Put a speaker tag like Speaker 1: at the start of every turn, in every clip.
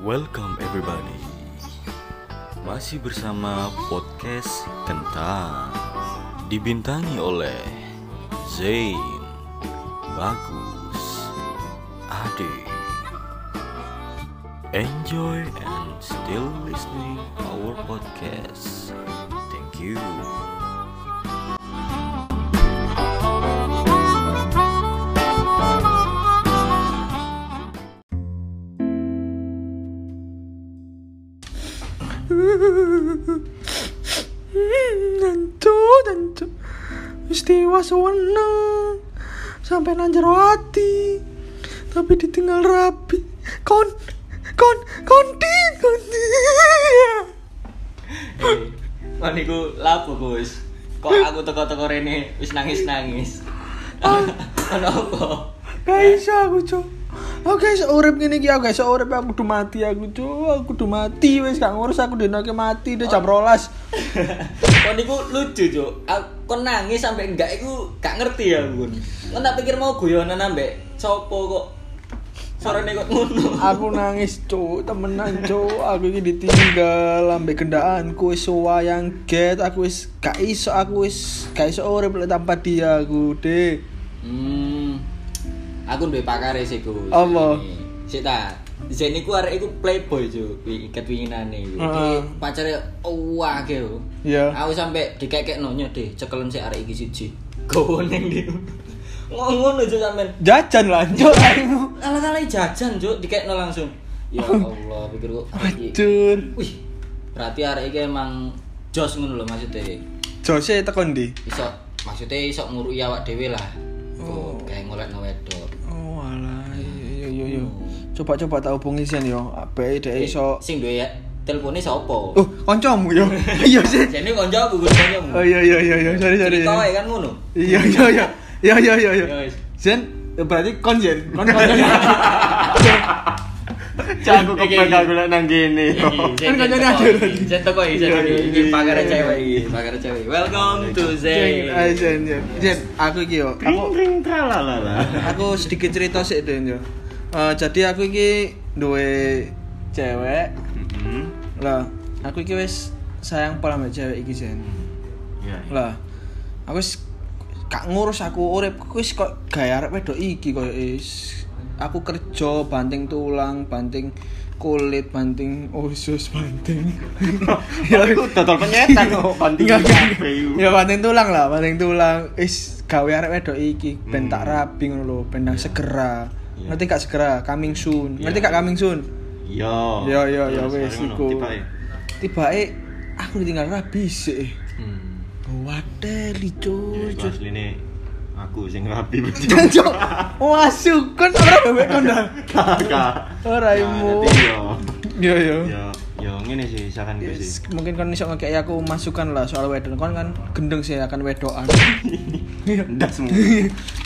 Speaker 1: Welcome everybody. Masih bersama podcast Kentang. Dibintangi oleh Zain, Bagus, Ade. Enjoy and still listening our podcast. Thank you.
Speaker 2: Tentu, tentu. Istiwa sewenang sampai nanjar hati. Tapi ditinggal rapi. Kon kon konti konti.
Speaker 3: Kon niku lapo Gus. Kok aku teko-teko rene wis nangis-nangis. Oh. Ono apa?
Speaker 2: Gak iso aku, Cuk. Aku guys, urip ngene iki aku guys, urip aku udah mati aku, Cuk. Aku udah mati wis gak ngurus aku dinoke mati udah jam 12.
Speaker 3: Kon niku lucu, Cuk. Aku- Kon nangis sampe enggak iku gak ngerti ya, Gun. Kon tak pikir mau guyonan ambek sopo kok suarane kok ngono.
Speaker 2: Aku nangis, Cuk. Temenan, Cuk. Aku iki ditinggal ambek kendaanku wis wayang get, aku wis gak iso, aku wis gak iso urip lek tanpa dia aku, Dek.
Speaker 3: Hmm. Aku duwe pakare sih, Gus.
Speaker 2: Apa?
Speaker 3: Sik ta. Zain niku arek iku playboy, Cuk. Wi- Ketwinginane iku.
Speaker 2: Heeh.
Speaker 3: Dia Pacare wake lho.
Speaker 2: Iya.
Speaker 3: Aku sampe dikekek nonyo deh, cekelen sik arek iki siji. Gowo ning ndi. Ngono Cuk sampean.
Speaker 2: Jajan lah, Cuk. aku.
Speaker 3: Ala-ala jajan, Cuk, dikekno langsung. Ya Allah, pikir kok arek iki.
Speaker 2: Cun.
Speaker 3: Wih, berarti arek iki emang jos ngono lho maksudnya.
Speaker 2: Jose tekan ndi?
Speaker 3: Iso maksudnya iso ngurui awak dhewe lah. Oh, kayak ngolekno wedok.
Speaker 2: Oh, alah. iya, Yo yo yo. Coba-coba tak hubungi sian yo. Ape dek Eh, iso.
Speaker 3: Eh, sing duwe ya, telpone sapa?
Speaker 2: Oh, kancamu yo. Iya sih.
Speaker 3: Jane konco aku gus koncomu.
Speaker 2: Oh iya iya iya iya, sorry sorry.
Speaker 3: Cerita wae kan ngono.
Speaker 2: Iya iya iya. Iya iya iya iya.
Speaker 3: Ya wis.
Speaker 2: Zen, eh, berarti kon Zen. Kon kon. Cak aku
Speaker 3: Iki,
Speaker 2: kepek
Speaker 3: iki.
Speaker 2: aku lek nang kene. Kan
Speaker 3: Kan
Speaker 2: kancane ada lagi.
Speaker 3: Zen toko iki,
Speaker 2: Iya,
Speaker 3: Zen
Speaker 2: iya,
Speaker 3: toko iki. Iki
Speaker 2: iya,
Speaker 3: pakar
Speaker 2: iya,
Speaker 3: cewek
Speaker 2: iya.
Speaker 3: iki, pakar cewek. Welcome to
Speaker 2: Zen,
Speaker 3: Zen.
Speaker 2: ayo, Zen, Zen. Zen, aku iki yo. Aku
Speaker 1: ring tralalala.
Speaker 2: aku sedikit cerita sik Den yo. Eh, jadi aku iki duwe cewek.
Speaker 3: Mm-hmm.
Speaker 2: Lah, aku iki wis sayang pola mbek cewek iki Zen.
Speaker 1: Ya.
Speaker 2: Lah, aku wis gak ngurus aku urip aku wis kok gaya arep wedok iki koyo is. Aku kerja banting tulang, banting kulit, banting usus, banting. ya
Speaker 1: Aku total penyetan kok banting
Speaker 2: Enggak, enggak.
Speaker 1: kafe, yuk.
Speaker 2: Ya banting tulang lah, banting tulang. Is gawe arek wedok iki ben tak rapi ngono lho, ben tak segera.
Speaker 1: Hmm. Iya.
Speaker 2: Ngerti gak segera, coming soon.
Speaker 1: Iya.
Speaker 2: Ngerti gak coming soon?
Speaker 1: Yo.
Speaker 2: Ya ya ya wis
Speaker 1: sekarang
Speaker 2: iku.
Speaker 1: ngono, tipake.
Speaker 2: Tibake aku ditinggal rabi sih.
Speaker 1: Hmm.
Speaker 2: Wadeli
Speaker 1: Ya,
Speaker 2: cuy.
Speaker 1: iku asline aku sing rapi berarti.
Speaker 2: Jancok. Masuk kan ora bebek kondang.
Speaker 1: Kakak.
Speaker 2: Ora imu.
Speaker 1: nanti Yo.
Speaker 2: Yo yo.
Speaker 1: Yo, yo ngene sih saran gue
Speaker 2: Yes,
Speaker 1: sih.
Speaker 2: mungkin kan iso ngekei aku masukan lah soal wedon kon kan gendeng sih akan wedokan. Iya.
Speaker 1: Ndas mu.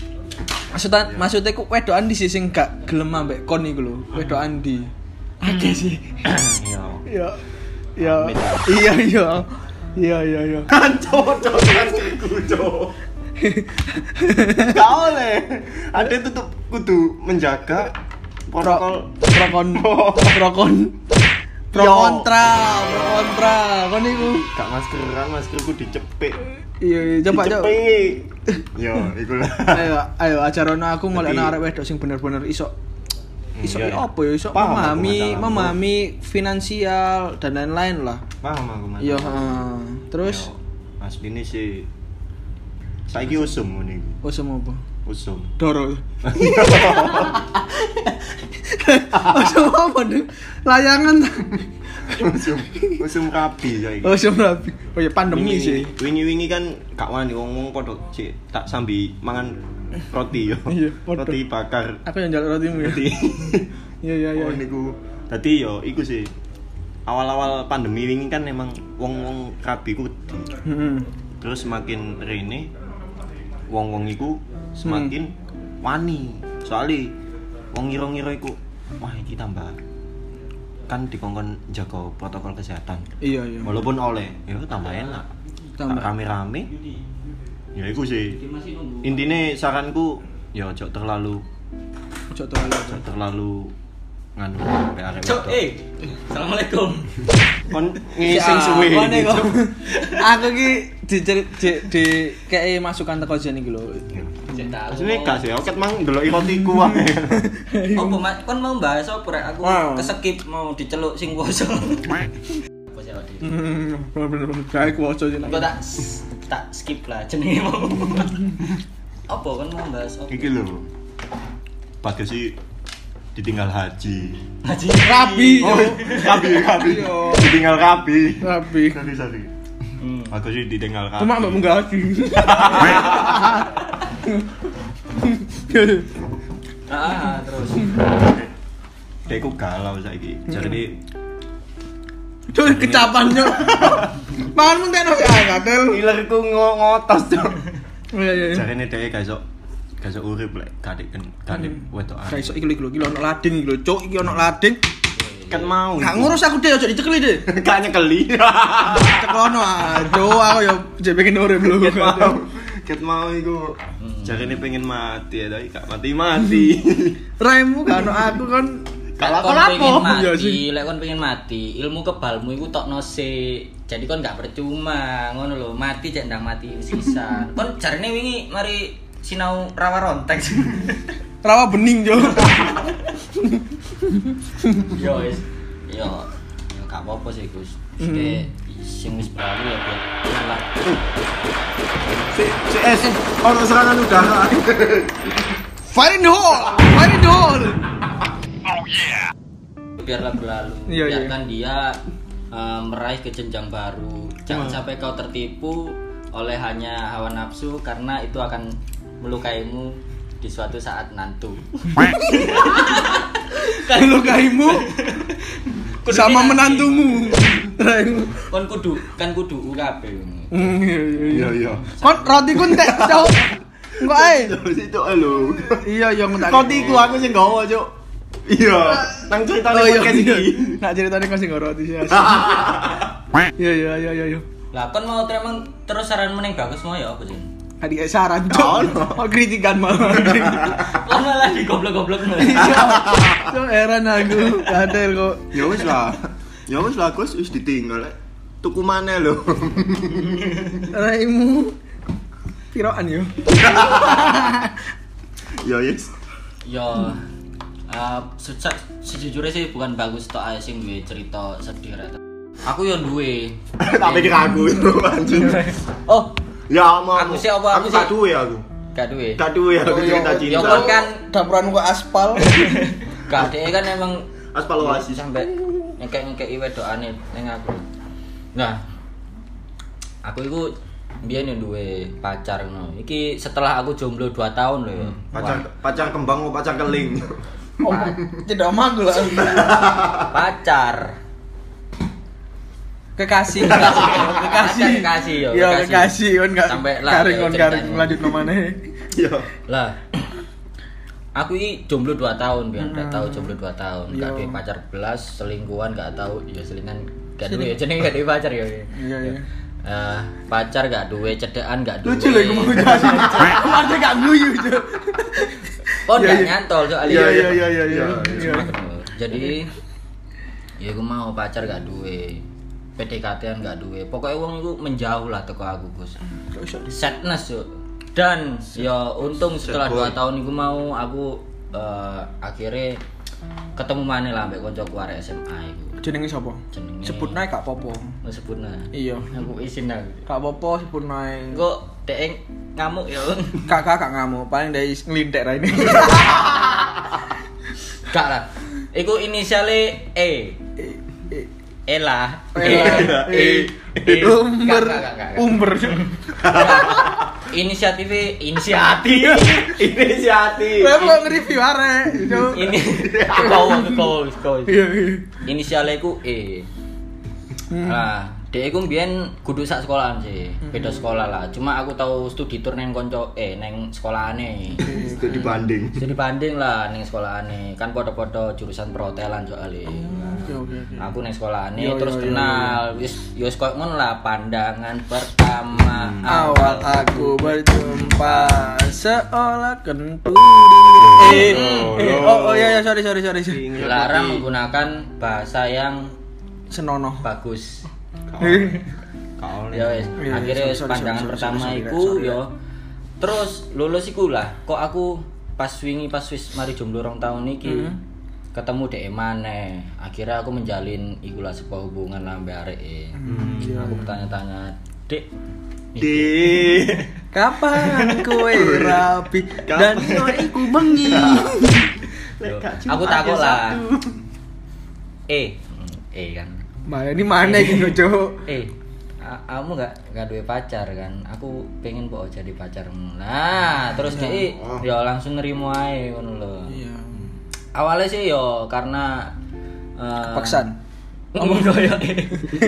Speaker 2: Maksudnya maksudnya ku wedokan di sisi gak gelem ambek kon iku lho, wedokan di. Oke sih.
Speaker 1: Yo.
Speaker 2: Iya. Iya. Iya iya. Iya iya iya.
Speaker 1: Hancur cocokan Kan kudu. Cok. Gak oleh. Ada tutup kudu menjaga protokol. Oh.
Speaker 2: prokon prokon pro
Speaker 1: Yo.
Speaker 2: kontra, pro kontra. Kon iku.
Speaker 1: Gak maskeran, maskerku dicepik.
Speaker 2: Iya iya coba coba.
Speaker 1: Dicepik. Yo, iku lah.
Speaker 2: ayo ayo ajaran aku ngoleh
Speaker 1: Tapi-
Speaker 2: arek wedok sing bener-bener iso iso
Speaker 1: Iya, iya.
Speaker 2: apa ya iso
Speaker 1: Paham aku,
Speaker 2: memahami
Speaker 1: masalah.
Speaker 2: memahami finansial dan lain-lain lah
Speaker 1: Paham aku Mas.
Speaker 2: iya ha. terus
Speaker 1: Yo, asline sih saiki usum ngene iki.
Speaker 2: oh semua apa
Speaker 1: Usum.
Speaker 2: doro oh semua apa Dek? layangan
Speaker 1: usum. Usum rabi saiki.
Speaker 2: oh semua rapi oh ya pandemi
Speaker 1: Wingi-
Speaker 2: sih
Speaker 1: Wingi-wingi kan gak wani ngomong padha sik tak sambi mangan roti yo.
Speaker 2: Iya, padha.
Speaker 1: roti bakar.
Speaker 2: aku yang jalur rotimu ya
Speaker 1: Roti.
Speaker 2: iya iya iya
Speaker 1: Oh niku. Dadi yo iku sih. Awal-awal pandemi wingi kan emang wong-wong rabi ku wedi.
Speaker 2: Mm-mm.
Speaker 1: terus semakin rene wong wong iku semakin
Speaker 3: Hmm.
Speaker 1: wani soalnya wong ngira ngira iku wah iki tambah kan dikongkon jaga protokol kesehatan
Speaker 2: iya iya
Speaker 1: walaupun oleh ya tambah enak
Speaker 2: Tambah.
Speaker 1: rame rame ya iku sih intinya saranku ya ojo terlalu
Speaker 2: Ojo terlalu.
Speaker 1: ojo terlalu nganu pe arek
Speaker 3: Cok,
Speaker 1: wedok.
Speaker 3: eh. Assalamualaikum.
Speaker 1: kon ngising gitu. suwi.
Speaker 2: Apa nih, kok? Aku ki dicerit di, di kayak masukan teko jen iki lho.
Speaker 3: Cek tahu.
Speaker 1: Asline gak sih, oket mang ndeloki rotiku wae.
Speaker 3: Opo, Mas? Kon Kan mau bahas apa, Rek? Aku
Speaker 2: Wow.
Speaker 3: keskip mau diceluk sing poso. Apa sih, Odi?
Speaker 2: Bener-bener gaek waca jen.
Speaker 3: Gua tak tak skip lah jenenge mau. Apa kon mau bahas apa?
Speaker 1: Iki lho. Bagus sih ditinggal haji.
Speaker 3: Haji
Speaker 2: Rabi.
Speaker 1: Oh, rabi, rabi.
Speaker 2: Iya.
Speaker 1: Ditinggal rabi.
Speaker 2: Rabi.
Speaker 1: Sorry, sorry.
Speaker 3: Hmm.
Speaker 1: Bagus sih ditinggal rabi.
Speaker 2: Cuma mbak munggah lagi.
Speaker 3: Ah, terus.
Speaker 1: Dekku galau saiki.
Speaker 2: Hmm.
Speaker 1: Jadi
Speaker 2: Cuy kecapannya. Manmu tenan ya katel.
Speaker 1: ilerku ngotos, Cok.
Speaker 2: Iya iya. iya.
Speaker 1: Jarene dhek gak iso gak iso urip lek kadek kadek wetokan.
Speaker 2: Kayak Hmm. iso iki lho, iki lho iki lho ono lading iki lho cuk iki ono lading.
Speaker 1: Kan mau.
Speaker 2: Gak ngurus aku deh ojo dicekli deh.
Speaker 1: Gak nyekeli.
Speaker 2: Cekono aja aku ya jek pengen urip lho.
Speaker 1: Ket mau. Ket mau iku. Jarene pengen mati ya, tapi gak mati-mati.
Speaker 2: Raimu gak ono aku kan
Speaker 3: Lek
Speaker 1: Kalau
Speaker 3: kon
Speaker 1: apa?
Speaker 3: pengen
Speaker 2: Iya
Speaker 3: mati,
Speaker 2: sih.
Speaker 3: lek kon pengen mati, ilmu kebalmu iku tokno sik. Jadi kon gak percuma, ngono lho. Mati cek ndang mati sisa. kon jarine wingi mari sinau rawa rontek.
Speaker 2: rawa bening jo.
Speaker 3: Yo wis. Yo. Yo gak apa-apa sih, Gus.
Speaker 2: Hmm.
Speaker 3: Oke, sing wis berlalu ya buat salah.
Speaker 1: Si, si eh, si, orang serangan udara.
Speaker 2: Fire in the hole. Fire in the hole.
Speaker 3: biarlah berlalu
Speaker 2: Iya, iya.
Speaker 3: biarkan dia eh, meraih ke jenjang baru jangan sampai kau tertipu oleh hanya hawa nafsu karena itu akan melukaimu di suatu saat nantu
Speaker 2: Melukaimu sama menantumu. Raimu.
Speaker 3: kan kudu kan kudu UKB ini.
Speaker 2: Hmm, Iya iya iya.
Speaker 1: Iya, iya.
Speaker 2: Kon roti ku entek cok. Enggak ae.
Speaker 1: Eh, Situ elu.
Speaker 2: Iya iya entek.
Speaker 1: Kotiku aku sing gawa, Cuk. Iya, nang ceritane podcast iki.
Speaker 2: Oh, iya, Nak ceritane kok sing roti sih. Iya iya iya iya iya.
Speaker 3: lah kan mau ter- emang terus saran meneng bagus mau ya apa sih
Speaker 2: Tadi kayak saran cok. Oh kritikan malah.
Speaker 3: kan malah di goblok-goblok
Speaker 2: Cok heran aku. Kadel kok.
Speaker 1: Ya wis lah. Ya wis lah, Gus, wis ditinggal. eh. Tuku mana lho?
Speaker 2: Raimu. Piroan yo.
Speaker 1: Ya yes.
Speaker 3: yo Ya, eh, seja- sejujurnya sih bukan bagus tok ae sing duwe cerita sedih Rek. aku yo duwe
Speaker 1: Tapi kira aku itu anjing.
Speaker 3: oh
Speaker 1: Ya mau.
Speaker 3: Aku sih apa, aku
Speaker 1: Aku tak
Speaker 3: sih.
Speaker 1: duwe aku.
Speaker 3: gak duwe
Speaker 1: Tak duwe aku cerita
Speaker 3: Yo
Speaker 1: cinta.
Speaker 3: kon kan
Speaker 2: Dapuran kok aspal.
Speaker 3: gak DE kan emang
Speaker 1: Aspal oasis.
Speaker 3: sampe ngekek-ngekeki wedokane ning aku. Nah. Aku iku biyen yo duwe pacar ngono. Iki setelah aku jomblo 2 tahun lho
Speaker 2: Hmm,
Speaker 3: ya.
Speaker 1: Pacar pacar kembang mau pacar keling.
Speaker 2: Oh, Tidak mampu lah.
Speaker 3: Wah, pacar.
Speaker 2: Kekasih.
Speaker 3: Kekasih, kekasih yo.
Speaker 2: Iya kekasih kon gak
Speaker 3: Sampai lah,
Speaker 2: karing
Speaker 3: yo,
Speaker 2: kon karing
Speaker 3: ceritanya.
Speaker 2: lanjut kemana
Speaker 1: Ya.
Speaker 3: Lah. Aku ini jomblo 2 tahun, biar
Speaker 2: Hmm.
Speaker 3: gak tau jomblo 2 tahun,
Speaker 2: Iya.
Speaker 3: gak duwe pacar belas, selingkuhan gak tau, ya selingan gak duwe, jenenge gak duwe pacar ya.
Speaker 2: Iya iya.
Speaker 3: Eh, pacar gak duwe, cedekan gak duwe.
Speaker 2: Lucu lho iku mau jelasin. Kemarin gak guyu Cuk.
Speaker 3: Oh,
Speaker 2: Iya,
Speaker 3: gak
Speaker 2: iya.
Speaker 3: nyantol soalnya.
Speaker 1: Iya iya iya iya iya.
Speaker 2: Iya.
Speaker 3: Jadi ya aku mau pacar gak duwe. PDKT-an gak duwe. Pokoknya wong iku menjauh lah teko aku, Gus.
Speaker 2: iya.
Speaker 3: Sadness yo. Dan ya untung setelah
Speaker 1: boy.
Speaker 3: 2 tahun iku mau aku eh, akhirnya ketemu maneh lah mbek kanca arek SMA iku.
Speaker 2: Jenenge sapa?
Speaker 3: Jenenge-
Speaker 2: Sebut naik gak apa-apa.
Speaker 3: Wes sebutna.
Speaker 2: Iya.
Speaker 3: Aku isin aku.
Speaker 2: Gak apa-apa sebut naik.
Speaker 3: Engko dek ngamuk ya.
Speaker 2: Kakak gak ngamuk, paling dari ngelintek ra ini.
Speaker 3: Gak lah. Iku inisiale E.
Speaker 2: Eh, eh,
Speaker 3: Ela.
Speaker 2: Ela.
Speaker 3: E. E.
Speaker 2: eh, Umber,
Speaker 3: Gak, gak, gak, gak.
Speaker 2: umber.
Speaker 3: inisiatifnya inisiatif
Speaker 1: Inisiatif.
Speaker 2: Lah mau nge-review arek. Cuk.
Speaker 3: ini kau kau kau
Speaker 2: Iya, iya. Hmm.
Speaker 3: inisialnya ku E nah Dek iku mbiyen kudu sak sekolahan sih, beda sekolah lah. Cuma aku tahu studi tour neng konco eh neng sekolahane.
Speaker 2: Hmm.
Speaker 3: Iya.
Speaker 1: Itu dibanding.
Speaker 3: Studi banding lah neng sekolahane. Kan podo-podo jurusan perhotelan soalnya.
Speaker 2: Oke oke oke.
Speaker 3: Aku neng sekolahane
Speaker 2: Hmm. Yo,
Speaker 3: terus
Speaker 2: yo, yo,
Speaker 3: kenal wis yo koyo ngono lah pandangan pertama
Speaker 2: Hmm. Awal aku berjumpa seolah kentut. Eh, eh, oh, oh ya ya sorry sorry sorry. sorry.
Speaker 3: dilarang menggunakan bahasa yang
Speaker 2: Senonoh.
Speaker 3: bagus.
Speaker 1: Kau
Speaker 3: Ya wis,
Speaker 2: Iya,
Speaker 3: akhirnya
Speaker 2: sorry,
Speaker 3: wis
Speaker 2: sorry,
Speaker 3: pandangan
Speaker 2: sorry,
Speaker 3: pertama
Speaker 2: sorry, sorry,
Speaker 3: iku
Speaker 2: sorry,
Speaker 3: yo. Terus lulus iku lah. Kok aku pas wingi pas wis mari jomblo rong tahun iki
Speaker 2: Hmm.
Speaker 3: ketemu dek maneh. Akhirnya aku menjalin iku lah sebuah hubungan lah mbek arek e.
Speaker 2: Hmm,
Speaker 3: Aku bertanya-tanya, "Dek, iki
Speaker 1: di
Speaker 2: Kapan kue rapi dan iku bengi.
Speaker 3: lho." aku takut lah. Eh, eh kan.
Speaker 2: Mbak ini mana gitu, Cok?
Speaker 3: Eh, a- kamu nggak nggak duwe pacar kan? Aku pengen kok jadi pacarmu. Nah, terus dia ya langsung nerimo ae ngono lho.
Speaker 2: Iya.
Speaker 3: Awalnya sih yo karena eh,
Speaker 2: Paksan.
Speaker 3: ngomong koyo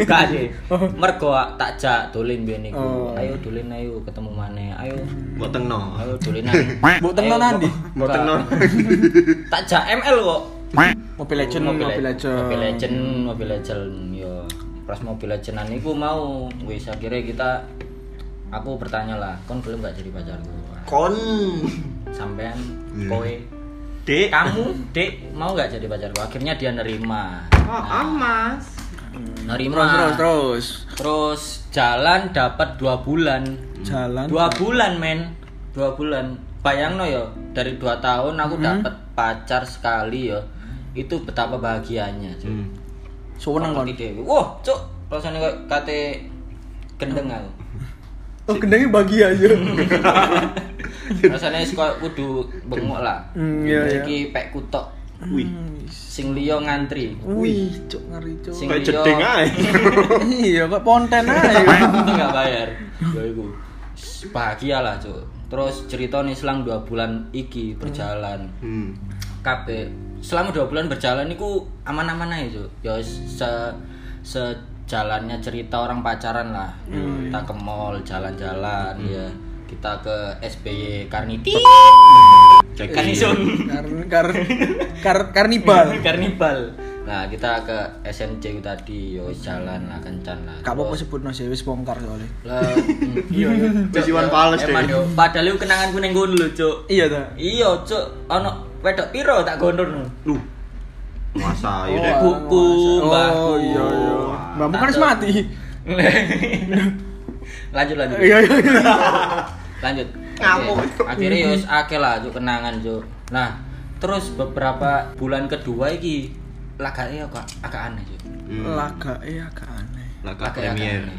Speaker 3: gak sih. Mergo tak jak dolen biyen iku.
Speaker 2: Oh.
Speaker 3: Ayo dolen ayo ketemu maneh. Ayo
Speaker 1: Boteng no.
Speaker 3: ayo dolenan.
Speaker 2: Mbok tengno
Speaker 3: Ayo,
Speaker 2: nandi?
Speaker 3: pokok-
Speaker 1: Mau tenor.
Speaker 3: Tak jak ML kok.
Speaker 2: Mobile Legend, Mobile Legend.
Speaker 3: Mobile Legend, Mobile Legend, yo. Pas Mobile Legendan iku mau wis akhirnya kita aku bertanya lah, kon belum gak jadi pacarku.
Speaker 1: Kon.
Speaker 3: Sampean kowe
Speaker 1: Dek.
Speaker 3: kamu, Dek, mau gak jadi pacarku? Akhirnya dia nerima. Nah.
Speaker 1: Mas.
Speaker 3: Nerima.
Speaker 2: Terus terus terus.
Speaker 3: Terus jalan dapat dua bulan.
Speaker 2: Jalan.
Speaker 3: Dua bulan, men. Dua bulan. Bayangno yo, dari dua tahun aku
Speaker 2: Mm-hmm.
Speaker 3: dapat pacar sekali yo. Itu betapa bahagianya, cuy.
Speaker 2: Mm. Suweneng kon.
Speaker 3: Ngerti dhewe. Wah, cuk, rasane koyo kate gendeng aku.
Speaker 2: Oh, gendengnya bagi aja.
Speaker 3: Rasane wis koyo kudu bengok lah.
Speaker 2: Hmm, iya, iya.
Speaker 3: Iki pek kutok
Speaker 1: Wih.
Speaker 3: sing liya ngantri.
Speaker 2: Wih, cok ngeri cok.
Speaker 3: Sing
Speaker 1: Kayak jeding ae.
Speaker 2: iya, kok ponten aja.
Speaker 3: Itu nggak bayar. Ya iku. Bahagia lah, cuk. Terus cerita nih selang dua bulan iki berjalan.
Speaker 1: Hmm.
Speaker 3: kabeh selama dua bulan berjalan niku aman-aman aja Cuk. ya wis se sejalannya cerita orang pacaran lah
Speaker 1: Iya,
Speaker 3: kita ke mall jalan-jalan
Speaker 1: Hmm.
Speaker 3: ya kita ke SBY Karniti
Speaker 1: Cek
Speaker 3: Karnison
Speaker 2: Kar kar kar karnibal.
Speaker 3: Karnibal nah kita ke SMC tadi yo wis jalan lah kencan lah
Speaker 2: Gak apa-apa sebut no sih, wis bongkar soalnya.
Speaker 3: lah mm, iya iya
Speaker 1: Wis Iwan Fals,
Speaker 3: Emang, yo.
Speaker 1: deh.
Speaker 3: padahal yo kenanganku ning kono lho cuk
Speaker 2: Iya ta.
Speaker 3: iya cuk ono wedok piro tak gondor
Speaker 1: Lu. Masa ya dek.
Speaker 3: Buku, mbahku.
Speaker 2: Oh, iya iya. Mbakmu kan harus mati.
Speaker 3: lanjut lanjut
Speaker 2: Iya iya. iya.
Speaker 3: lanjut
Speaker 1: Ngamuk.
Speaker 3: Oke. akhirnya yo wis akeh lah cuk kenangan cuk nah terus beberapa bulan kedua iki lagake yo kok agak aneh cuk
Speaker 1: oh.
Speaker 2: Laga eh agak aneh.
Speaker 3: Lagake
Speaker 1: Laga
Speaker 3: agak
Speaker 1: Hmm. premier.
Speaker 3: aneh.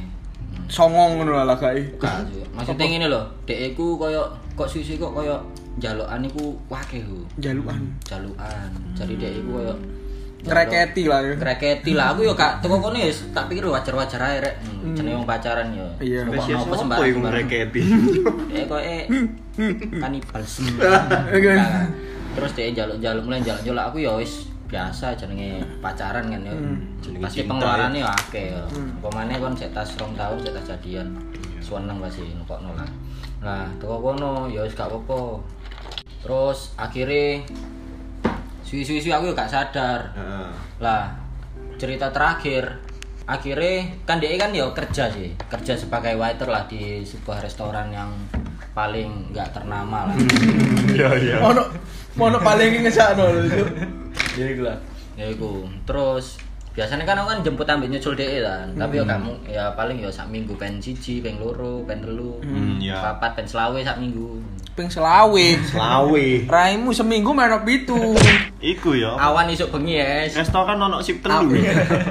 Speaker 2: Songong ngono lah laga eh.
Speaker 3: Bukan, Cuk. maksudnya ngene lho dhek iku koyo kok sisi kok koyo jalokan iku wakeh lho
Speaker 2: Jaluan.
Speaker 3: jalukan jadi dhek iku koyo
Speaker 2: Ngereketi lah ya.
Speaker 3: kreketi lah aku yo gak teko kono yo tak pikir wajar-wajar ae rek hmm, jenenge wong pacaran yo
Speaker 2: Iya.
Speaker 1: Wes ya
Speaker 3: apa
Speaker 1: sopo iku
Speaker 3: sembarang
Speaker 1: ngreketi.
Speaker 3: Eh kok eh kanibal sih.
Speaker 2: Oke.
Speaker 3: Terus dia jaluk-jaluk mulai jaluk-jaluk aku ya wis biasa jenenge pacaran kan ya.
Speaker 1: Jenenge
Speaker 3: Pasti
Speaker 1: cinta,
Speaker 3: pengeluarannya ya akeh ya. Pemane kon cek tas rong tahun cek tas jadian. Seneng pasti nukokno lah. Nah, teko kono ya wis gak apa-apa. Terus akhirnya suwi-suwi aku ya gak sadar.
Speaker 1: Heeh.
Speaker 3: Lah, cerita terakhir akhirnya kan dia kan ya kerja sih, kerja sebagai waiter lah di sebuah restoran yang paling nggak ternama lah.
Speaker 1: Iya iya.
Speaker 2: Ono ono paling ngesakno lho. Cuk.
Speaker 3: Jadi lah. Ya iku. Terus biasanya kan aku kan jemput ambil nyusul DE kan, tapi ya kamu ya paling ya sak minggu pengen siji, pengen loro, pengen telu,
Speaker 1: Hmm, ya.
Speaker 3: papat, pengen selawe sak minggu.
Speaker 2: Ping selawe.
Speaker 1: Lawe.
Speaker 2: Raimu seminggu menok pitu.
Speaker 1: Iku ya.
Speaker 3: Awan isuk bengi es.
Speaker 1: Restoran ono sip telu.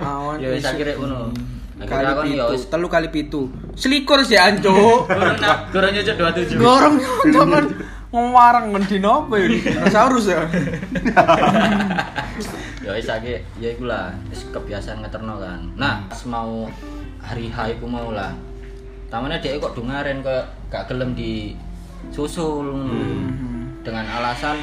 Speaker 2: Awan.
Speaker 3: Ya wis akhirnya ngono.
Speaker 2: kali
Speaker 3: Akhirnya kan ya
Speaker 2: pitu,
Speaker 3: wis
Speaker 2: telu kali pitu. Selikur sih anco.
Speaker 3: Gorong nak- gorong nyucuk 27.
Speaker 2: Gorong jangan ngewarang ngendi nopo ya? Dinosaurus ya.
Speaker 3: ya wis lagi ya iku lah wis kebiasaan ngeterno kan nah pas mau hari H iku mau lah tamane dhek kok
Speaker 2: Hmm.
Speaker 3: dungaren kok gak gelem di susul dengan alasan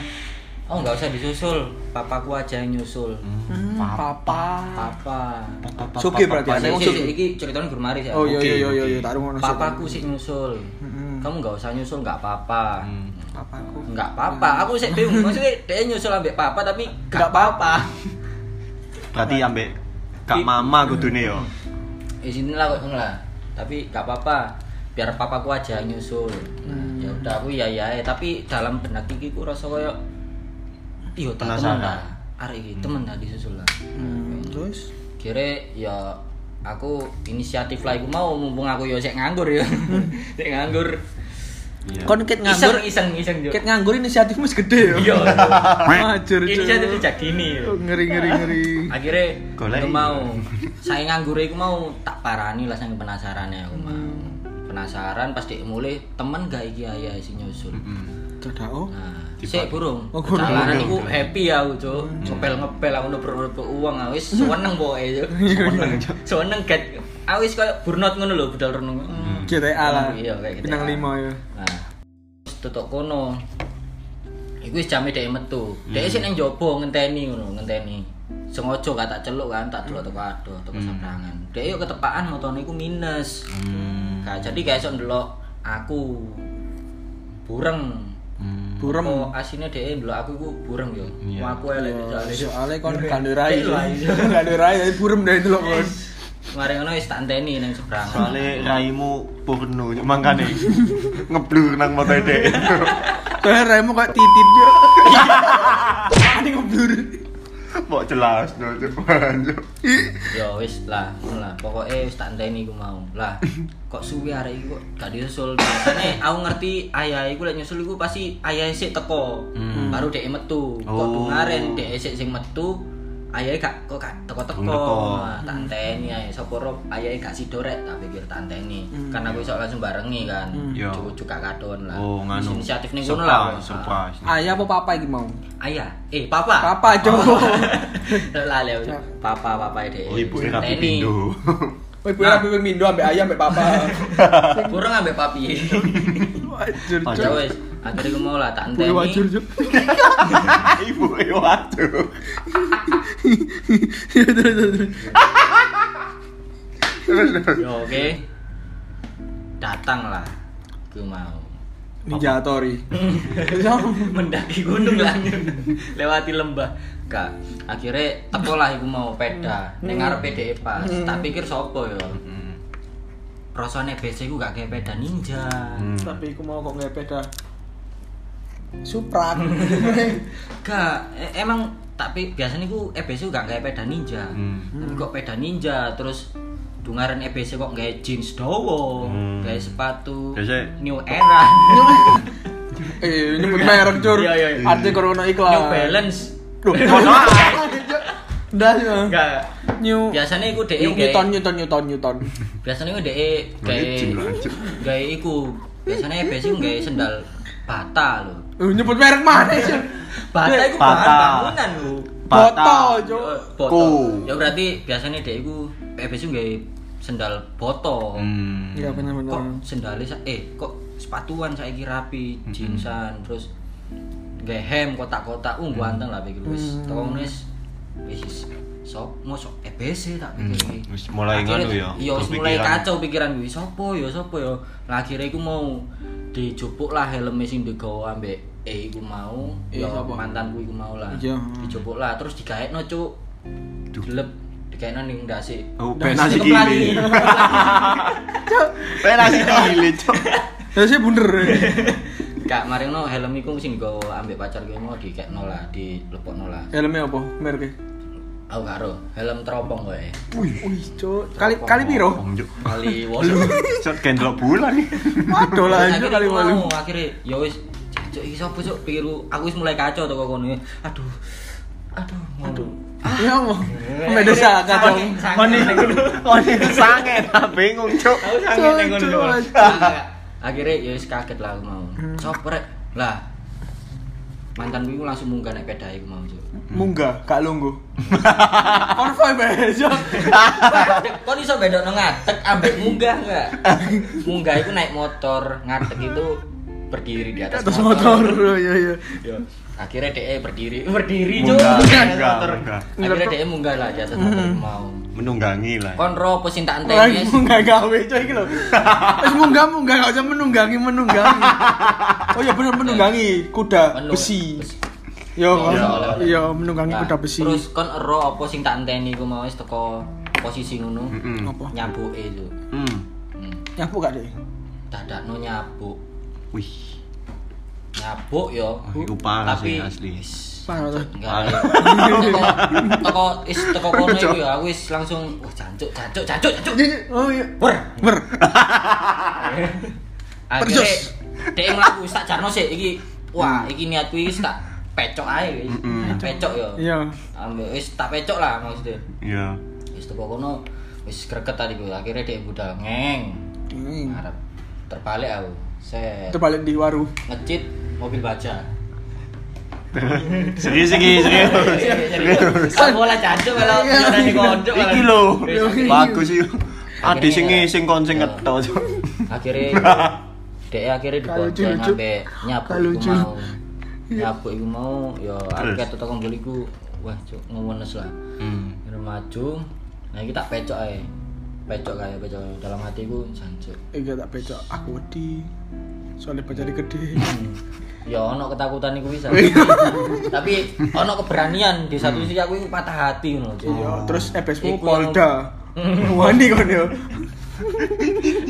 Speaker 3: Oh nggak usah disusul, papaku aja yang nyusul.
Speaker 2: Hmm, papa.
Speaker 3: Papa.
Speaker 2: Suki berarti
Speaker 3: Saya
Speaker 2: aku
Speaker 3: sih
Speaker 2: suki.
Speaker 3: iki ceritanya gurmari ya.
Speaker 2: Oh iya Hmm.
Speaker 1: Oke,
Speaker 2: iya iya
Speaker 1: oke.
Speaker 2: iya tak rungono. sih.
Speaker 3: Papaku sih nyusul.
Speaker 2: Mm-mm.
Speaker 3: Kamu nggak usah nyusul nggak apa-apa.
Speaker 2: Hmm. Papaku.
Speaker 3: Nggak apa-apa. Aku sih bingung. Maksudnya dia nyusul ambek papa tapi nggak apa-apa.
Speaker 1: berarti ambek kak mama kudune yo
Speaker 3: Di sini lah kok ngono lah. Tapi nggak apa-apa. Biar papaku aja yang nyusul. Nah, ya udah aku ya ya. Tapi dalam benak iki ku rasa koyo Iya, tak temen
Speaker 1: Penasaran.
Speaker 3: lah. Arek iki temen lah disusul lah.
Speaker 2: Hmm, terus
Speaker 3: kira ya aku inisiatif lah aku mau mumpung aku ya sik nganggur ya sik nganggur
Speaker 2: kon ket nganggur
Speaker 3: iseng iseng iseng
Speaker 2: ket nganggur inisiatifmu segede yo.
Speaker 3: yo
Speaker 2: Majur. Cuk.
Speaker 3: inisiatif sejak gini yo.
Speaker 2: Ngeri ngeri ngeri.
Speaker 3: akhirnya
Speaker 1: Golek.
Speaker 3: aku mau saya nganggur aku mau tak parani lah saya penasaran ya aku mau Hmm. penasaran pasti mulai temen gak iki ayah si nyusul
Speaker 2: Hmm. Cedao.
Speaker 3: Nah,
Speaker 1: Tiba-
Speaker 3: sik burung.
Speaker 2: Oh,
Speaker 3: Oh,
Speaker 2: burung.
Speaker 3: Jalanan
Speaker 1: Burung.
Speaker 3: iku happy aku, Cuk. Ngepel-ngepel aku nubruk-nubruk uang aku wis seneng pokoke, Cuk. Seneng, Cuk. Seneng get. Aku wis koyo burnout ngono lho budal renung. Hmm.
Speaker 2: GTA lah.
Speaker 3: Iya, kayak GTA.
Speaker 2: Bintang 5 ya.
Speaker 3: Nah. Terus tutuk kono. Iku wis jame dhek metu. Dhek sik nang njaba ngenteni ngono, ngenteni. Sengojo gak tak celuk kan, tak celuk teko adoh, teko sabrangan. Dhek yo ketepaan motone iku minus. Gak jadi gak iso ndelok aku. Bureng. Hmm.
Speaker 2: Burem.
Speaker 3: Apa asine dhewe ndelok aku iku bureng yo.
Speaker 1: Iya.
Speaker 3: Wah, aku elek soalnya.
Speaker 2: Soalnya kon gandurai.
Speaker 3: Iya, iya.
Speaker 2: Gandurai ya burem dari dulu kon.
Speaker 3: Mari ngono wis tak enteni nang seberang.
Speaker 1: soalnya raimu porno makanya ngeblur nang mata dek
Speaker 2: Soalnya raimu kayak titit yo. Ini ngeblur.
Speaker 1: mau jelas no cepetan Cuk.
Speaker 3: Yo wis lah, ngono lah. Pokoke wis tak enteni iku mau. Lah, kok suwi arek iki kok gak disusul. Biasane aku ngerti ayah iku lek nyusul iku pasti ayah sik teko.
Speaker 1: Hmm.
Speaker 3: Baru dhek metu. Kok
Speaker 1: Oh.
Speaker 3: dungaren dhek sik sing metu. Ayahe gak kok gak
Speaker 1: Durung
Speaker 3: teko-teko.
Speaker 1: teko. Hmm.
Speaker 3: Nah, Tak enteni ae sapa ro ayahe gak sidorek tak pikir tak enteni.
Speaker 2: Hmm.
Speaker 3: Kan aku iso langsung barengi kan.
Speaker 1: Yo.
Speaker 3: Cucu gak kadon lah.
Speaker 1: oh nganu
Speaker 3: Inisiatif ning kono lah. Ah.
Speaker 1: Surprise, surprise
Speaker 2: Ayah apa papa iki mau?
Speaker 3: Ayah, eh papa.
Speaker 2: Papa, Jo.
Speaker 3: Lah lha papa papa ide.
Speaker 1: oh ibu rapi pindo
Speaker 2: Oh, ibu rapi ping mindo ambek ayah ambek papa.
Speaker 3: Kurang ambek papi.
Speaker 2: Wajur, Cuk.
Speaker 1: Wajur.
Speaker 3: Ya wis, akhirnya aku mau lah tak
Speaker 2: Ibu wajur,
Speaker 3: enteni.
Speaker 2: Cuk.
Speaker 1: ibu waduh
Speaker 2: Ya, terus, terus, terus.
Speaker 3: Yo oke. Datang lah. Aku mau.
Speaker 2: Ninja Tori.
Speaker 3: Mendaki gunung lah. Lewati lembah. Kak, akhirnya teko lah aku mau peda. Ning ngarepe dhek pas. Tak pikir sopo yo. Hmm. Rasane BC ku gak kayak peda ninja.
Speaker 2: Tapi aku mau kok ngepet dah. Supra.
Speaker 3: Gak, e- emang tapi biasanya ku EBC gak kayak peda ninja.
Speaker 1: Hmm.
Speaker 3: Tapi kok peda ninja terus dungaren EBC kok kayak jeans dowo,
Speaker 1: Hmm.
Speaker 3: kayak sepatu
Speaker 1: Biasa-
Speaker 3: New Era,
Speaker 2: Eh, nyebut merek, Cur.
Speaker 3: Iya, iya, iya.
Speaker 2: Arti corona
Speaker 3: New
Speaker 2: iklan.
Speaker 3: Balance.
Speaker 2: Duh, mohon maaf. Dah, Cuk.
Speaker 3: Enggak.
Speaker 2: New
Speaker 3: Biasanya iku dhek
Speaker 2: New Newton
Speaker 3: kayak
Speaker 2: Newton Newton Newton.
Speaker 3: biasanya iku dhek kayak
Speaker 1: Ngejim lah, Cuk.
Speaker 3: kayak iku. Biasanya E EBC kayak sendal bata lho.
Speaker 2: Eh, nyebut merek mana sih?
Speaker 3: Bata iku
Speaker 1: Bata.
Speaker 3: bahan bangunan lho.
Speaker 2: Boto,
Speaker 1: patah
Speaker 2: Cuk.
Speaker 3: Boto.
Speaker 1: Ku.
Speaker 3: Ya berarti biasanya dhek iku E EBC kayak sendal boto.
Speaker 1: hmm.
Speaker 2: Iya benar-benar.
Speaker 3: kok sendalnya sa- eh kok sepatuan saya kira rapi jeansan terus nggak hem kotak-kotak uh ganteng lah pikir wis
Speaker 2: Hmm.
Speaker 3: toko ngono wis wis wis. sok mau sok EBC E tak pikir
Speaker 1: Hmm.
Speaker 3: iki.
Speaker 1: Wis mulai
Speaker 3: Akhirnya,
Speaker 1: ngono ya,
Speaker 3: iya wis mulai
Speaker 1: kepikiran.
Speaker 3: kacau pikiran gue sopo ya sopo ya lah akhirnya aku mau dijupuk lah helmnya sing digawa ambek eh iku mau
Speaker 2: Eh,
Speaker 1: E
Speaker 3: ya
Speaker 2: sapa?
Speaker 3: mantanku iku mau lah
Speaker 2: Iya.
Speaker 3: dijupuk lah terus digaekno cuk
Speaker 1: Duh.
Speaker 3: dilep digaekno ning ndase
Speaker 1: Oh,
Speaker 2: Dan
Speaker 1: penas
Speaker 3: Tetep lagi.
Speaker 1: gili. Penas gili, Cuk.
Speaker 2: Ya sih bunder.
Speaker 3: Kak Marino helm iku sing digawa ambek pacar gue mau dikekno lah, dilepokno lah.
Speaker 2: Helmnya apa? Merek.
Speaker 3: Aku karo helm teropong kowe.
Speaker 2: Wih, wih, Cuk. Kali kali piro?
Speaker 1: Om, Cuk.
Speaker 3: Kali wolu.
Speaker 1: Cuk kendro bulan nih.
Speaker 2: Waduh lah anjir kali walu.
Speaker 3: mau akhire ya wis cuk iki sapa cuk pikirku aku wis mulai kacau toko kono. Aduh. Aduh, aduh.
Speaker 2: Ya mau. Beda salah kacau.
Speaker 3: Mani.
Speaker 1: Oni sange ta bingung, Cuk.
Speaker 2: eh,
Speaker 3: Aku sange ning
Speaker 2: Cuk,
Speaker 3: ngono.
Speaker 2: cuk.
Speaker 3: Akhire ya wis kaget lah aku mau. Soprek. Lah. Mantan gue langsung munggah naik peda iku mau cuk.
Speaker 2: Munggah, gak lungguh. eh, Konvoy besok.
Speaker 3: Kon iso bedokno ngatek ambek munggah enggak? Munggah itu naik motor, ngatek itu berdiri di atas
Speaker 2: Terus motor. Iya iya.
Speaker 3: Yo. Akhirnya DE berdiri, berdiri
Speaker 1: Munggah,
Speaker 3: juga.
Speaker 1: munggah, munggah.
Speaker 3: Akhirnya DE munggah lah di atas motor mau.
Speaker 1: menunggangi lah
Speaker 3: Konro pesintaan
Speaker 2: Lagi
Speaker 3: tenis.
Speaker 2: munggah gawe coy iki lho. Wis munggah munggah gak usah menunggangi menunggangi. Oh iya bener menunggangi kuda
Speaker 3: Menung-
Speaker 2: besi.
Speaker 3: besi.
Speaker 2: Yo,
Speaker 3: Iya, oleh-oleh.
Speaker 2: iya menunggangi
Speaker 3: Nah,
Speaker 2: kuda besi.
Speaker 3: Terus kon ero apa sing tak enteni ku mau wis teko posisi ngono.
Speaker 1: Mm-mm.
Speaker 2: Apa?
Speaker 3: Nyabuke lho.
Speaker 1: Mm.
Speaker 3: Hmm.
Speaker 2: Nyapu gak deh?
Speaker 3: Dadakno nyabuk.
Speaker 1: wih
Speaker 3: Nyabuk yo.
Speaker 1: Wah, iku parah sih, asli.
Speaker 2: Parah tuh.
Speaker 3: Enggak. Teko teko is teko kono iku ya aku wis langsung wah jancuk jancuk jancuk jancuk.
Speaker 2: Oh iya.
Speaker 3: Ber.
Speaker 2: Ber.
Speaker 3: Akhirnya
Speaker 2: Perjus.
Speaker 3: dhek mlaku wis tak jarno sik iki. Wah, iki niatku iki wis tak pecok ae wis. Pecok yo.
Speaker 2: Iya.
Speaker 3: Ambil wis tak pecok lah maksudnya.
Speaker 1: ya
Speaker 3: Wis teko kono wis greget tadi gue akhirnya dhek budal ngeng.
Speaker 2: Hmm.
Speaker 3: Arab terbalik aku. Set.
Speaker 2: Terbalik di waru.
Speaker 3: Ngecit mobil baja.
Speaker 1: serius iki serius
Speaker 3: Aku lah jancuk kalau
Speaker 2: Iya.
Speaker 3: ada di kondok. malah.
Speaker 1: iki lho
Speaker 2: Iya.
Speaker 1: bagus iki ade sing
Speaker 3: Akhirnya-
Speaker 1: sing kon sing
Speaker 3: Iya.
Speaker 1: ngetok Cuk.
Speaker 3: akhirnya dia akhirnya
Speaker 2: Kalau
Speaker 3: dibonceng
Speaker 2: lucu-lucu.
Speaker 3: sampai nyapu
Speaker 2: Kalau
Speaker 3: iku
Speaker 2: lucu.
Speaker 3: mau nyapu iku mau ya aku
Speaker 1: Terus?
Speaker 3: kata tukang joli iku wah cuk ngewenes lah
Speaker 1: Hmm.
Speaker 3: Akhirnya maju nah kita pecok ae pecok kayak pecok dalam hati ku jancuk
Speaker 2: Iya tak becok aku wedi. Soalnya bacane gede.
Speaker 3: ya ono ketakutan iku bisa tapi ono keberanian di satu sisi aku iku patah hati ngono Cuk.
Speaker 1: Oh.
Speaker 2: Iya, terus EBSmu
Speaker 3: Iku
Speaker 2: Polda. Wani kon yo.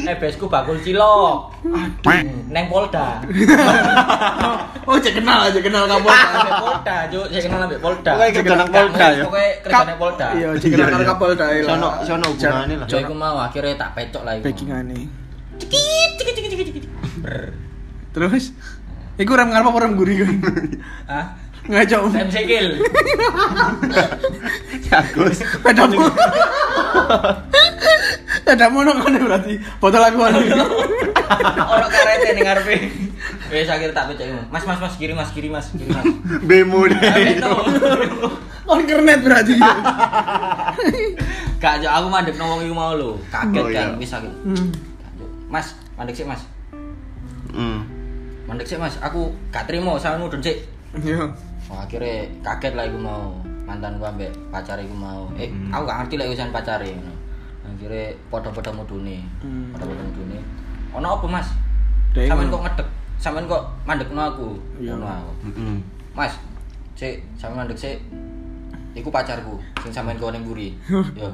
Speaker 3: ebesku Eh, bakul cilok neng Polda
Speaker 2: Oh, cek kenal aja kenal kamu.
Speaker 1: Ah,
Speaker 3: Sampai Polda Cuk saya kenal sampai Polda
Speaker 1: Pokoknya kerja nang Polda ya.
Speaker 3: pokoknya kerjane Polda
Speaker 2: Iya, cek kenal
Speaker 1: Iya,
Speaker 2: karo
Speaker 1: iya.
Speaker 2: Kapolda ya lah.
Speaker 1: Sono sono hubungane lah.
Speaker 3: Ya iku mau akhirnya tak pecok lah iku.
Speaker 2: backingane.
Speaker 3: Cekit cekit cekit cekit cekit. Ber.
Speaker 2: Terus Iku rem ngarep apa rem guri kan?
Speaker 3: Ah,
Speaker 2: Ngajak um.
Speaker 3: saya segel.
Speaker 1: Bagus.
Speaker 2: Pedamu. Pedamu nang kono berarti. Botol aku anu.
Speaker 3: Orang karete ning ngarepe. Wes akhirnya tak pecok iku. Mas mas mas kiri mas kiri mas kiri mas.
Speaker 1: Bemo
Speaker 3: Tapi
Speaker 1: deh.
Speaker 3: itu,
Speaker 2: On kernet berarti.
Speaker 3: Kak Jo, aku mandek nang wong iku mau lho. Kaget
Speaker 1: Oh, iya.
Speaker 3: kan wis aku.
Speaker 2: Hmm.
Speaker 3: Kak Jo, Mas, mandek sik Mas.
Speaker 1: Hmm.
Speaker 3: Mandek sik Mas, aku gak trimo sama mudun sik.
Speaker 2: Yo.
Speaker 3: Oh, akhirnya kaget lah iku mau mantan gua ambek pacar iku mau. Eh,
Speaker 2: Hmm.
Speaker 3: aku gak ngerti lah urusan pacare ngono. Akhirnya padha-padha mudune.
Speaker 2: Hmm.
Speaker 3: Padha-padha mudune. Ono apa, Mas?
Speaker 2: Dek,
Speaker 3: Sampeyan
Speaker 2: ngono.
Speaker 3: kok ngedek, sampeyan kok mandekno aku.
Speaker 2: Iya.
Speaker 3: Ngono aku.
Speaker 1: Mm-mm.
Speaker 3: Mas, sik, sampeyan mandek sik. Iku pacarku sing sampeyan kowe ning mburi. Yo.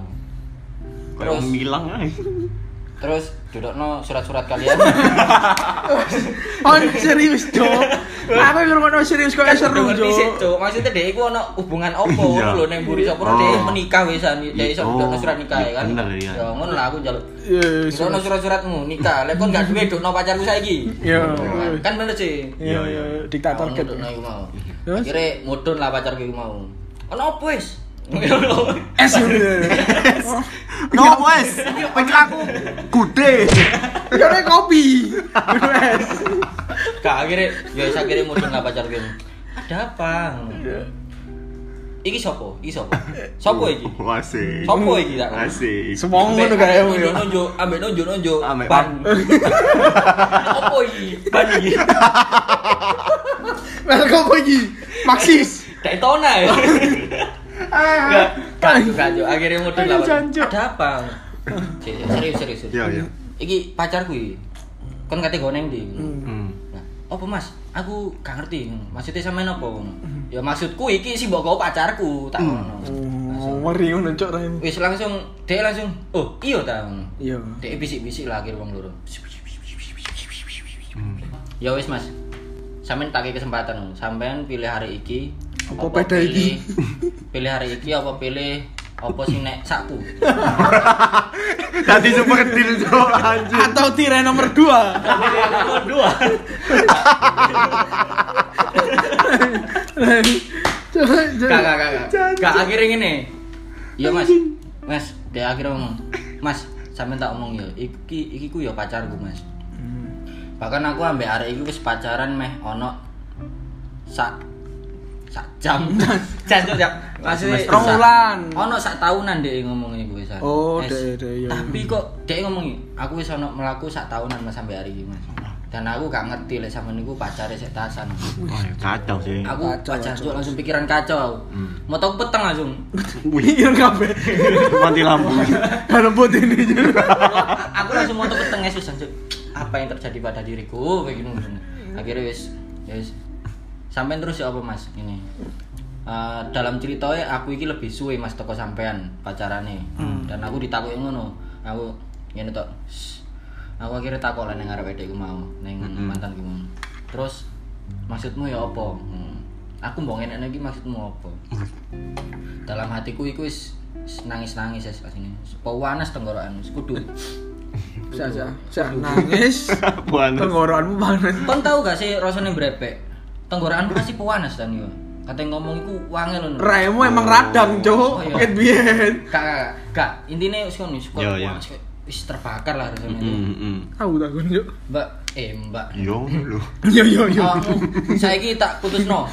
Speaker 1: Kayak
Speaker 3: Terus-
Speaker 1: ngilang ae.
Speaker 3: Terus dudukno surat-surat kalian.
Speaker 2: On Oh, serius, Jo. Aku yang ngono serius kok seru,
Speaker 3: Kan Ngerti sik,
Speaker 2: Jo.
Speaker 3: Cuk. Maksudnya dhek iku ono hubungan opo
Speaker 1: Iya.
Speaker 3: lho ning mburi sapa
Speaker 1: Oh.
Speaker 3: dhek menikah wesan, dhek iso
Speaker 1: Oh,
Speaker 3: dudukno surat nikah ya
Speaker 1: iya,
Speaker 3: kan.
Speaker 1: bener, iya.
Speaker 3: Yo ngono lah aku njaluk
Speaker 2: Iya,
Speaker 3: Iso ono
Speaker 2: serius.
Speaker 3: surat-suratmu nikah, lek kon gak duwe dokno pacarku saiki.
Speaker 2: Iya.
Speaker 3: Kan bener sih.
Speaker 2: Iya, iya, diktator
Speaker 3: Ono
Speaker 2: ket.
Speaker 3: dokno iku mau.
Speaker 2: Terus?
Speaker 3: Akhirnya mudun lah pacarku iku mau. Ono opo wis?
Speaker 2: Es yo.
Speaker 1: No wes, pikir aku gude.
Speaker 2: Yo Ya, nek kopi. Yo, Es.
Speaker 3: Gak akhirnya ya wis akhirnya mudun lah pacarku. Ada apa? Iki sopo? Iki sopo? Sopo iki?
Speaker 1: Wase.
Speaker 3: Sopo iki tak?
Speaker 1: Wase.
Speaker 2: Semua
Speaker 3: Ambek-
Speaker 2: ngono kae
Speaker 3: ambek
Speaker 2: yo.
Speaker 3: Nunjuk, ambek nunjuk, nunjuk.
Speaker 1: Ambek
Speaker 3: ban. Opo iki? Ban iki.
Speaker 2: Lah kok iki? Maxis.
Speaker 3: Daytona ya. Enggak, kacau, kacau. Akhirnya mudun lah.
Speaker 2: Aduh, jancuk.
Speaker 3: Ada apa? Serius, serius, serius.
Speaker 1: Iya, iya.
Speaker 3: Iki pacarku iki. Kon kate go neng ndi?
Speaker 1: Hmm.
Speaker 3: Nah, opo Mas? Aku gak ngerti. Maksudnya sampean opo?
Speaker 2: Hmm.
Speaker 3: Ya maksudku iki sih mbok kau pacarku, tak ngono.
Speaker 2: Oh, ngeri ngono cok ra ini.
Speaker 3: Wis langsung dhek langsung, "Oh, iya ta." ngono.
Speaker 2: Iya.
Speaker 3: Dhek bisik-bisik lah akhir wong loro. Ya wis Mas. Sampeyan tak kei kesempatan, ngono. sampeyan pilih hari iki
Speaker 2: Apa beda
Speaker 3: pilih-
Speaker 2: iki?
Speaker 3: Pilih hari iki apa pilih apa sing nek sakku?
Speaker 1: Tadi super deal cok anjir.
Speaker 2: Atau tirai nomor 2.
Speaker 3: Nomor dua. Kak, kak, kak, kak. Kak, akhirnya gini. Iya mas, mas, dia akhirnya ngomong, mas, sampe tak omong ya, iki, iki ku ya pacarku mas.
Speaker 2: Hmm.
Speaker 3: Bahkan aku ambek arek iki wis pacaran meh ono sak sak jam. Jan jam. Maksudnya
Speaker 2: Semester. Rong
Speaker 3: sak-
Speaker 2: bulan.
Speaker 3: Ono sak tahunan dhek ngomong iku wis.
Speaker 2: Oh,
Speaker 3: Es.
Speaker 2: dhek- dhek, iya, iya.
Speaker 3: Tapi kok dhek ngomong aku wis ono mlaku sak tahunan mas sampe hari iki mas. Dan aku gak ngerti lek sampean niku pacare sik tasan.
Speaker 1: Wah, kacau sih.
Speaker 3: Aku
Speaker 2: Kacau,
Speaker 3: pacar
Speaker 2: kacau.
Speaker 3: Cuk, langsung pikiran kacau aku.
Speaker 1: Hmm.
Speaker 3: Mau tau peteng langsung.
Speaker 1: Wih,
Speaker 2: Iya kabeh.
Speaker 1: mati lampu.
Speaker 2: Karena buat ini juga.
Speaker 3: aku langsung mau tau peteng ya susah Cuk. Apa yang terjadi pada diriku kayak gini. Akhirnya wis ya wis. Sampean terus ya apa Mas? Ini. Eh, dalam ceritanya aku iki lebih suwe Mas toko sampean pacarane. Dan aku ditakoki ngono. Aku ngene tok. "Shh." Aku akhirnya takok lah ning arep edekku mau, ning mantanku mau. Terus maksudmu ya apa? Hmm. Aku mau ngene iki maksudmu apa? dalam hatiku iku wis wis nangis-nangis ya pas ini. Pawanes tenggorokan wis kudu.
Speaker 2: Sah, sah, sah. Nangis.
Speaker 1: Panas.
Speaker 2: Tenggorokanmu panas.
Speaker 3: Kon tau gak sih rasane brepek? Tenggorokan pasti pawanes dan yo. Kate ngomong iku wangi lho.
Speaker 2: Raimu emang radang,
Speaker 3: Oh,
Speaker 2: Cok.
Speaker 3: iya.
Speaker 2: Paket biyen.
Speaker 3: Gak gak gak. Intine wis ngono wis kon
Speaker 1: Yo, yo.
Speaker 3: pawanes, kok wis terbakar lah rasane.
Speaker 1: Hmm.
Speaker 2: Aku takut, Cok.
Speaker 3: Mbak, eh Mbak.
Speaker 1: Yo lu.
Speaker 2: Yo yo yo.
Speaker 1: Ah,
Speaker 3: Awakmu saiki tak putusno.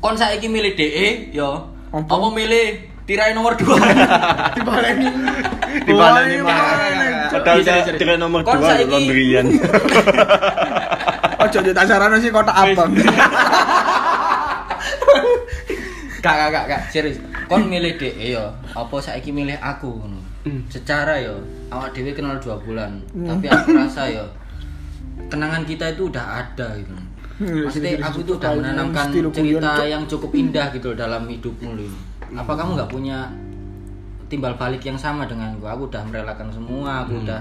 Speaker 3: Kon saiki milih DE yo.
Speaker 2: Apa?
Speaker 3: Apa milih tirai nomor 2?
Speaker 2: Dibaleni.
Speaker 1: Dibaleni,
Speaker 2: Wah,
Speaker 1: Mas.
Speaker 2: dibaleni, Cok.
Speaker 1: Padahal
Speaker 3: Bisa,
Speaker 1: saya
Speaker 3: bisa, bisa.
Speaker 1: tirai nomor
Speaker 3: Kon
Speaker 1: 2
Speaker 3: saiki-
Speaker 1: Londrian.
Speaker 2: Ojo ojo tak sarana sih kotak abang.
Speaker 3: Gak, gak, gak, gak, serius. Kon milih DE yo, apa saiki milih aku ngono. Secara yo, awak dhewe kenal 2 bulan, tapi aku rasa yo kenangan kita itu udah ada gitu.
Speaker 2: Hmm,
Speaker 3: Maksudnya
Speaker 2: jadi-
Speaker 3: aku
Speaker 2: jadi
Speaker 3: itu udah
Speaker 2: kalian
Speaker 3: menanamkan
Speaker 2: mesti lo
Speaker 3: cerita
Speaker 2: guyon, Cok.
Speaker 3: yang cukup indah gitu loh dalam hidupmu loh. Apa kamu nggak punya timbal balik yang sama dengan gua? Aku udah merelakan semua, aku udah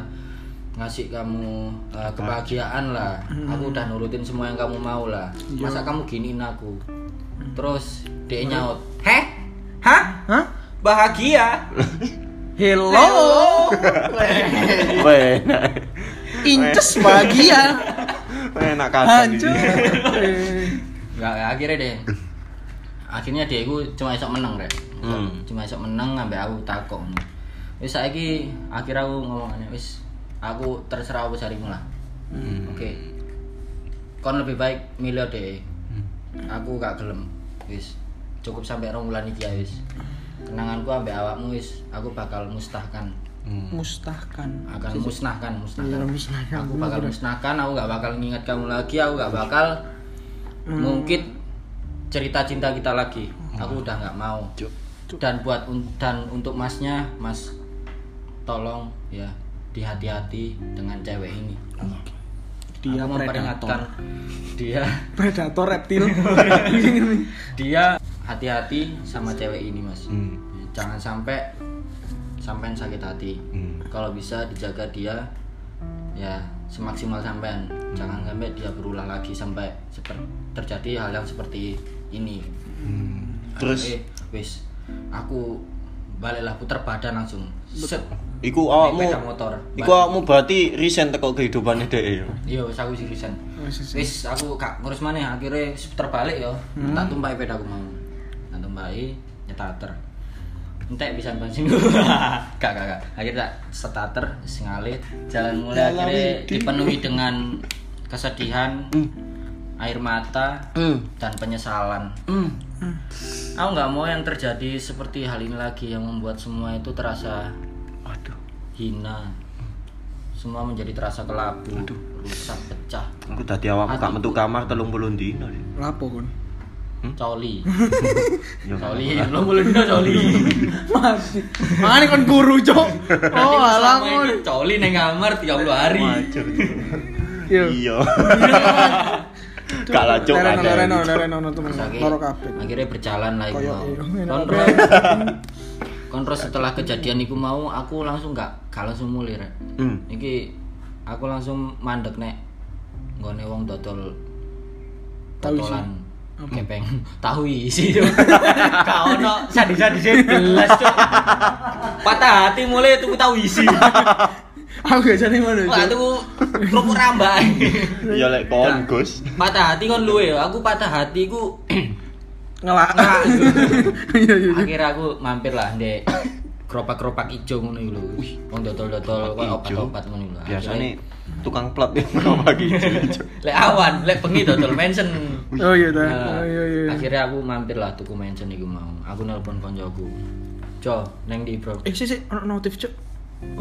Speaker 3: ngasih kamu uh, kebahagiaan lah. Aku udah nurutin semua yang kamu mau lah. Masa kamu giniin aku? Iya. Hmm. Terus dia nyaut, heh, hah,
Speaker 2: Hah?
Speaker 3: bahagia?
Speaker 2: Hello.
Speaker 1: Weh.
Speaker 2: Inces bahagia.
Speaker 1: Enak kata
Speaker 2: Hancur.
Speaker 1: nih.
Speaker 3: Nggak, nggak, akhirnya deh. Akhirnya dia itu cuma esok menang rek.
Speaker 1: Hmm.
Speaker 3: Cuma esok menang ngambil aku takok. Wis saiki akhirnya aku ngomong aneh, wis aku terserah wis harimu lah. Oke. Kon lebih baik milih deh. Aku gak gelem. Wis cukup sampai rong bulan iki ya wis. Kenanganku ambek awakmu wis aku bakal mustahkan.
Speaker 2: Mustahkan.
Speaker 3: Akan musnahkan, musnahkan.
Speaker 2: Iya, musnahkan.
Speaker 3: Aku bakal musnahkan, aku gak bakal ngingat kamu lagi, aku gak bakal ngungkit cerita cinta kita lagi. Aku udah gak mau. Dan buat un- dan untuk masnya, mas tolong ya dihati-hati dengan cewek ini.
Speaker 2: Dia
Speaker 3: Aku
Speaker 2: predator.
Speaker 3: memperingatkan dia
Speaker 2: Predator reptil.
Speaker 3: dia hati-hati sama cewek ini mas.
Speaker 1: Hmm.
Speaker 3: Jangan sampai sampean sakit hati.
Speaker 1: Hmm.
Speaker 3: Kalau bisa dijaga dia ya semaksimal sampean.
Speaker 1: Hmm.
Speaker 3: Jangan sampai dia berulang lagi sampai seper- terjadi hal yang seperti ini.
Speaker 1: Hmm. Terus
Speaker 3: Eh, wis aku baliklah putar badan langsung. Set.
Speaker 1: iku awakmu
Speaker 3: Naik sepeda motor.
Speaker 1: Iku awakmu berarti resign teko kehidupane dhek ya.
Speaker 3: Iya, wis aku sih resign.
Speaker 2: Oh, wis Hmm. resign.
Speaker 3: Wis aku gak ngurus maneh, akhirnya wis puter balik yo. Tak tumpahi pedaku mau. Tak tumpahi nyetater. Entek bisa bensin Gak, gak, gak. Akhirnya tak starter sing ngalit. Jalan mulai
Speaker 2: Jalan
Speaker 3: akhirnya
Speaker 2: hidup.
Speaker 3: dipenuhi dengan kesedihan,
Speaker 2: Hmm.
Speaker 3: air mata, dan penyesalan.
Speaker 2: Hmm.
Speaker 3: Hmm. Aku nggak mau yang terjadi seperti hal ini lagi yang membuat semua itu terasa
Speaker 1: Aduh,
Speaker 3: hina semua menjadi terasa kelabu rusak pecah
Speaker 1: aku tadi awakmu gak metu kamar 30 dino. Dek.
Speaker 2: Lapo kon?
Speaker 3: coli
Speaker 1: Ya gak
Speaker 3: coli lo mulutnya coli
Speaker 2: Masih. Makane kon guru, Cok. Oh, alah
Speaker 3: Selama
Speaker 2: kon.
Speaker 3: ini coli neng kamar 30 hari
Speaker 1: Wajar.
Speaker 2: Yo.
Speaker 1: Iya. Gak lah cuk
Speaker 2: Lereno,
Speaker 1: ada.
Speaker 2: lereno, lereno, lereno, temen.
Speaker 3: Sakit.
Speaker 2: Loro kabeh.
Speaker 3: akhirnya berjalan lah iku
Speaker 2: Koyo
Speaker 3: mau
Speaker 2: iyo.
Speaker 3: kontrol kontrol setelah kejadian iku mau aku langsung nggak gak langsung mulai rek
Speaker 1: Hmm.
Speaker 3: iki aku langsung mandek nek nggone wong dodol
Speaker 2: Tahu isi.
Speaker 3: dodolan kepeng tahu isi Cuk. gak ono sadis-sadis gelas cuk patah hati mulai tuku tahu isi
Speaker 2: Aku biasane ngono,
Speaker 3: wah
Speaker 2: Cok.
Speaker 3: tuku kerupuk rambak
Speaker 1: Ya lek kon Gus.
Speaker 3: patah hati kon luwe aku patah hati ku
Speaker 2: Ngelak.
Speaker 3: Ngelak.
Speaker 2: Iya, iya. iya.
Speaker 3: akhirnya aku mampir lah di keropak-keropak ijo ngono iki lho. Wong dodol-dodol koyo obat-obat ngono iki lho.
Speaker 1: Biasane tukang plat yang mau bagi cuk.
Speaker 3: Akhirnya, lek awan, lek bengi dodol mention.
Speaker 2: Oh iya ta. Oh
Speaker 3: Nah,
Speaker 2: iya iya.
Speaker 3: Akhirnya aku mampir lah tuku mention iku mau. Aku nelpon koncoku. Jo, neng di bro.
Speaker 2: Eh, sik sik ono notif, Cok.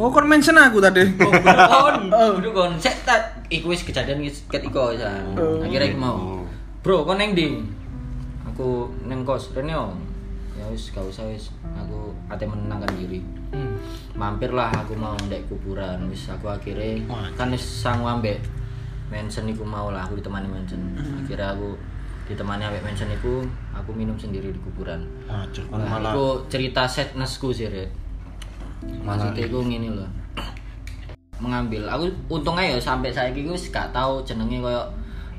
Speaker 2: Oh, kon mention aku tadi.
Speaker 3: Oh, bener kon. Bener kon. Sek tak iku wis kejadian wis ket iko ya. Akhirnya aku mau. Bro, kon neng ndi? Aku neng kos rene om. Ya wis gak usah wis. Aku ate menenangkan diri. Mampirlah aku mau ndek kuburan wis aku akhirnya kan wis sangu ambek Manson iku mau lah aku ditemani Manson. Akhirnya aku ditemani ambek Manson iku aku minum sendiri di kuburan.
Speaker 1: Wajar
Speaker 3: Nah,
Speaker 1: kan Ah, malah
Speaker 3: iku cerita sadnessku sih, Rit. Maksudnya iku ngene lho. Mengambil aku untung aja sampai saiki iku wis gak tau jenenge koyo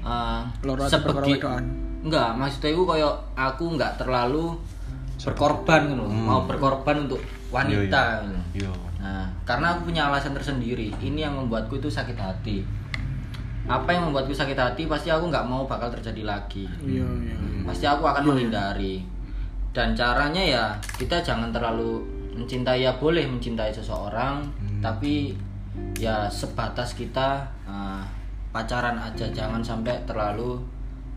Speaker 3: eh
Speaker 2: Loro atau
Speaker 3: sebegi
Speaker 2: perkara wedokan?
Speaker 3: enggak, maksudnya iku koyo aku enggak terlalu berkorban ngono, mau berkorban untuk wanita. ngono.
Speaker 1: Hmm. Iya.
Speaker 3: Nah, karena aku punya alasan tersendiri. Ini yang membuatku itu sakit hati. Apa yang membuatku sakit hati pasti aku nggak mau bakal terjadi lagi
Speaker 2: Iya, iya.
Speaker 3: pasti aku akan menghindari dan caranya ya kita jangan terlalu mencintai ya boleh mencintai seseorang
Speaker 2: Hmm.
Speaker 3: tapi ya sebatas kita eh, pacaran aja jangan sampai terlalu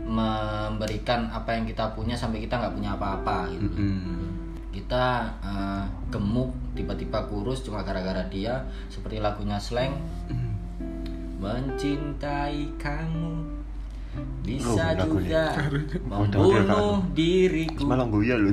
Speaker 3: memberikan apa yang kita punya sampai kita nggak punya apa-apa gitu
Speaker 2: Hmm.
Speaker 3: kita eh, gemuk tiba-tiba kurus cuma gara-gara dia seperti lagunya slang mencintai kamu bisa
Speaker 1: Oh,
Speaker 3: juga
Speaker 1: lagunya.
Speaker 3: membunuh diriku
Speaker 1: Malah gue lu.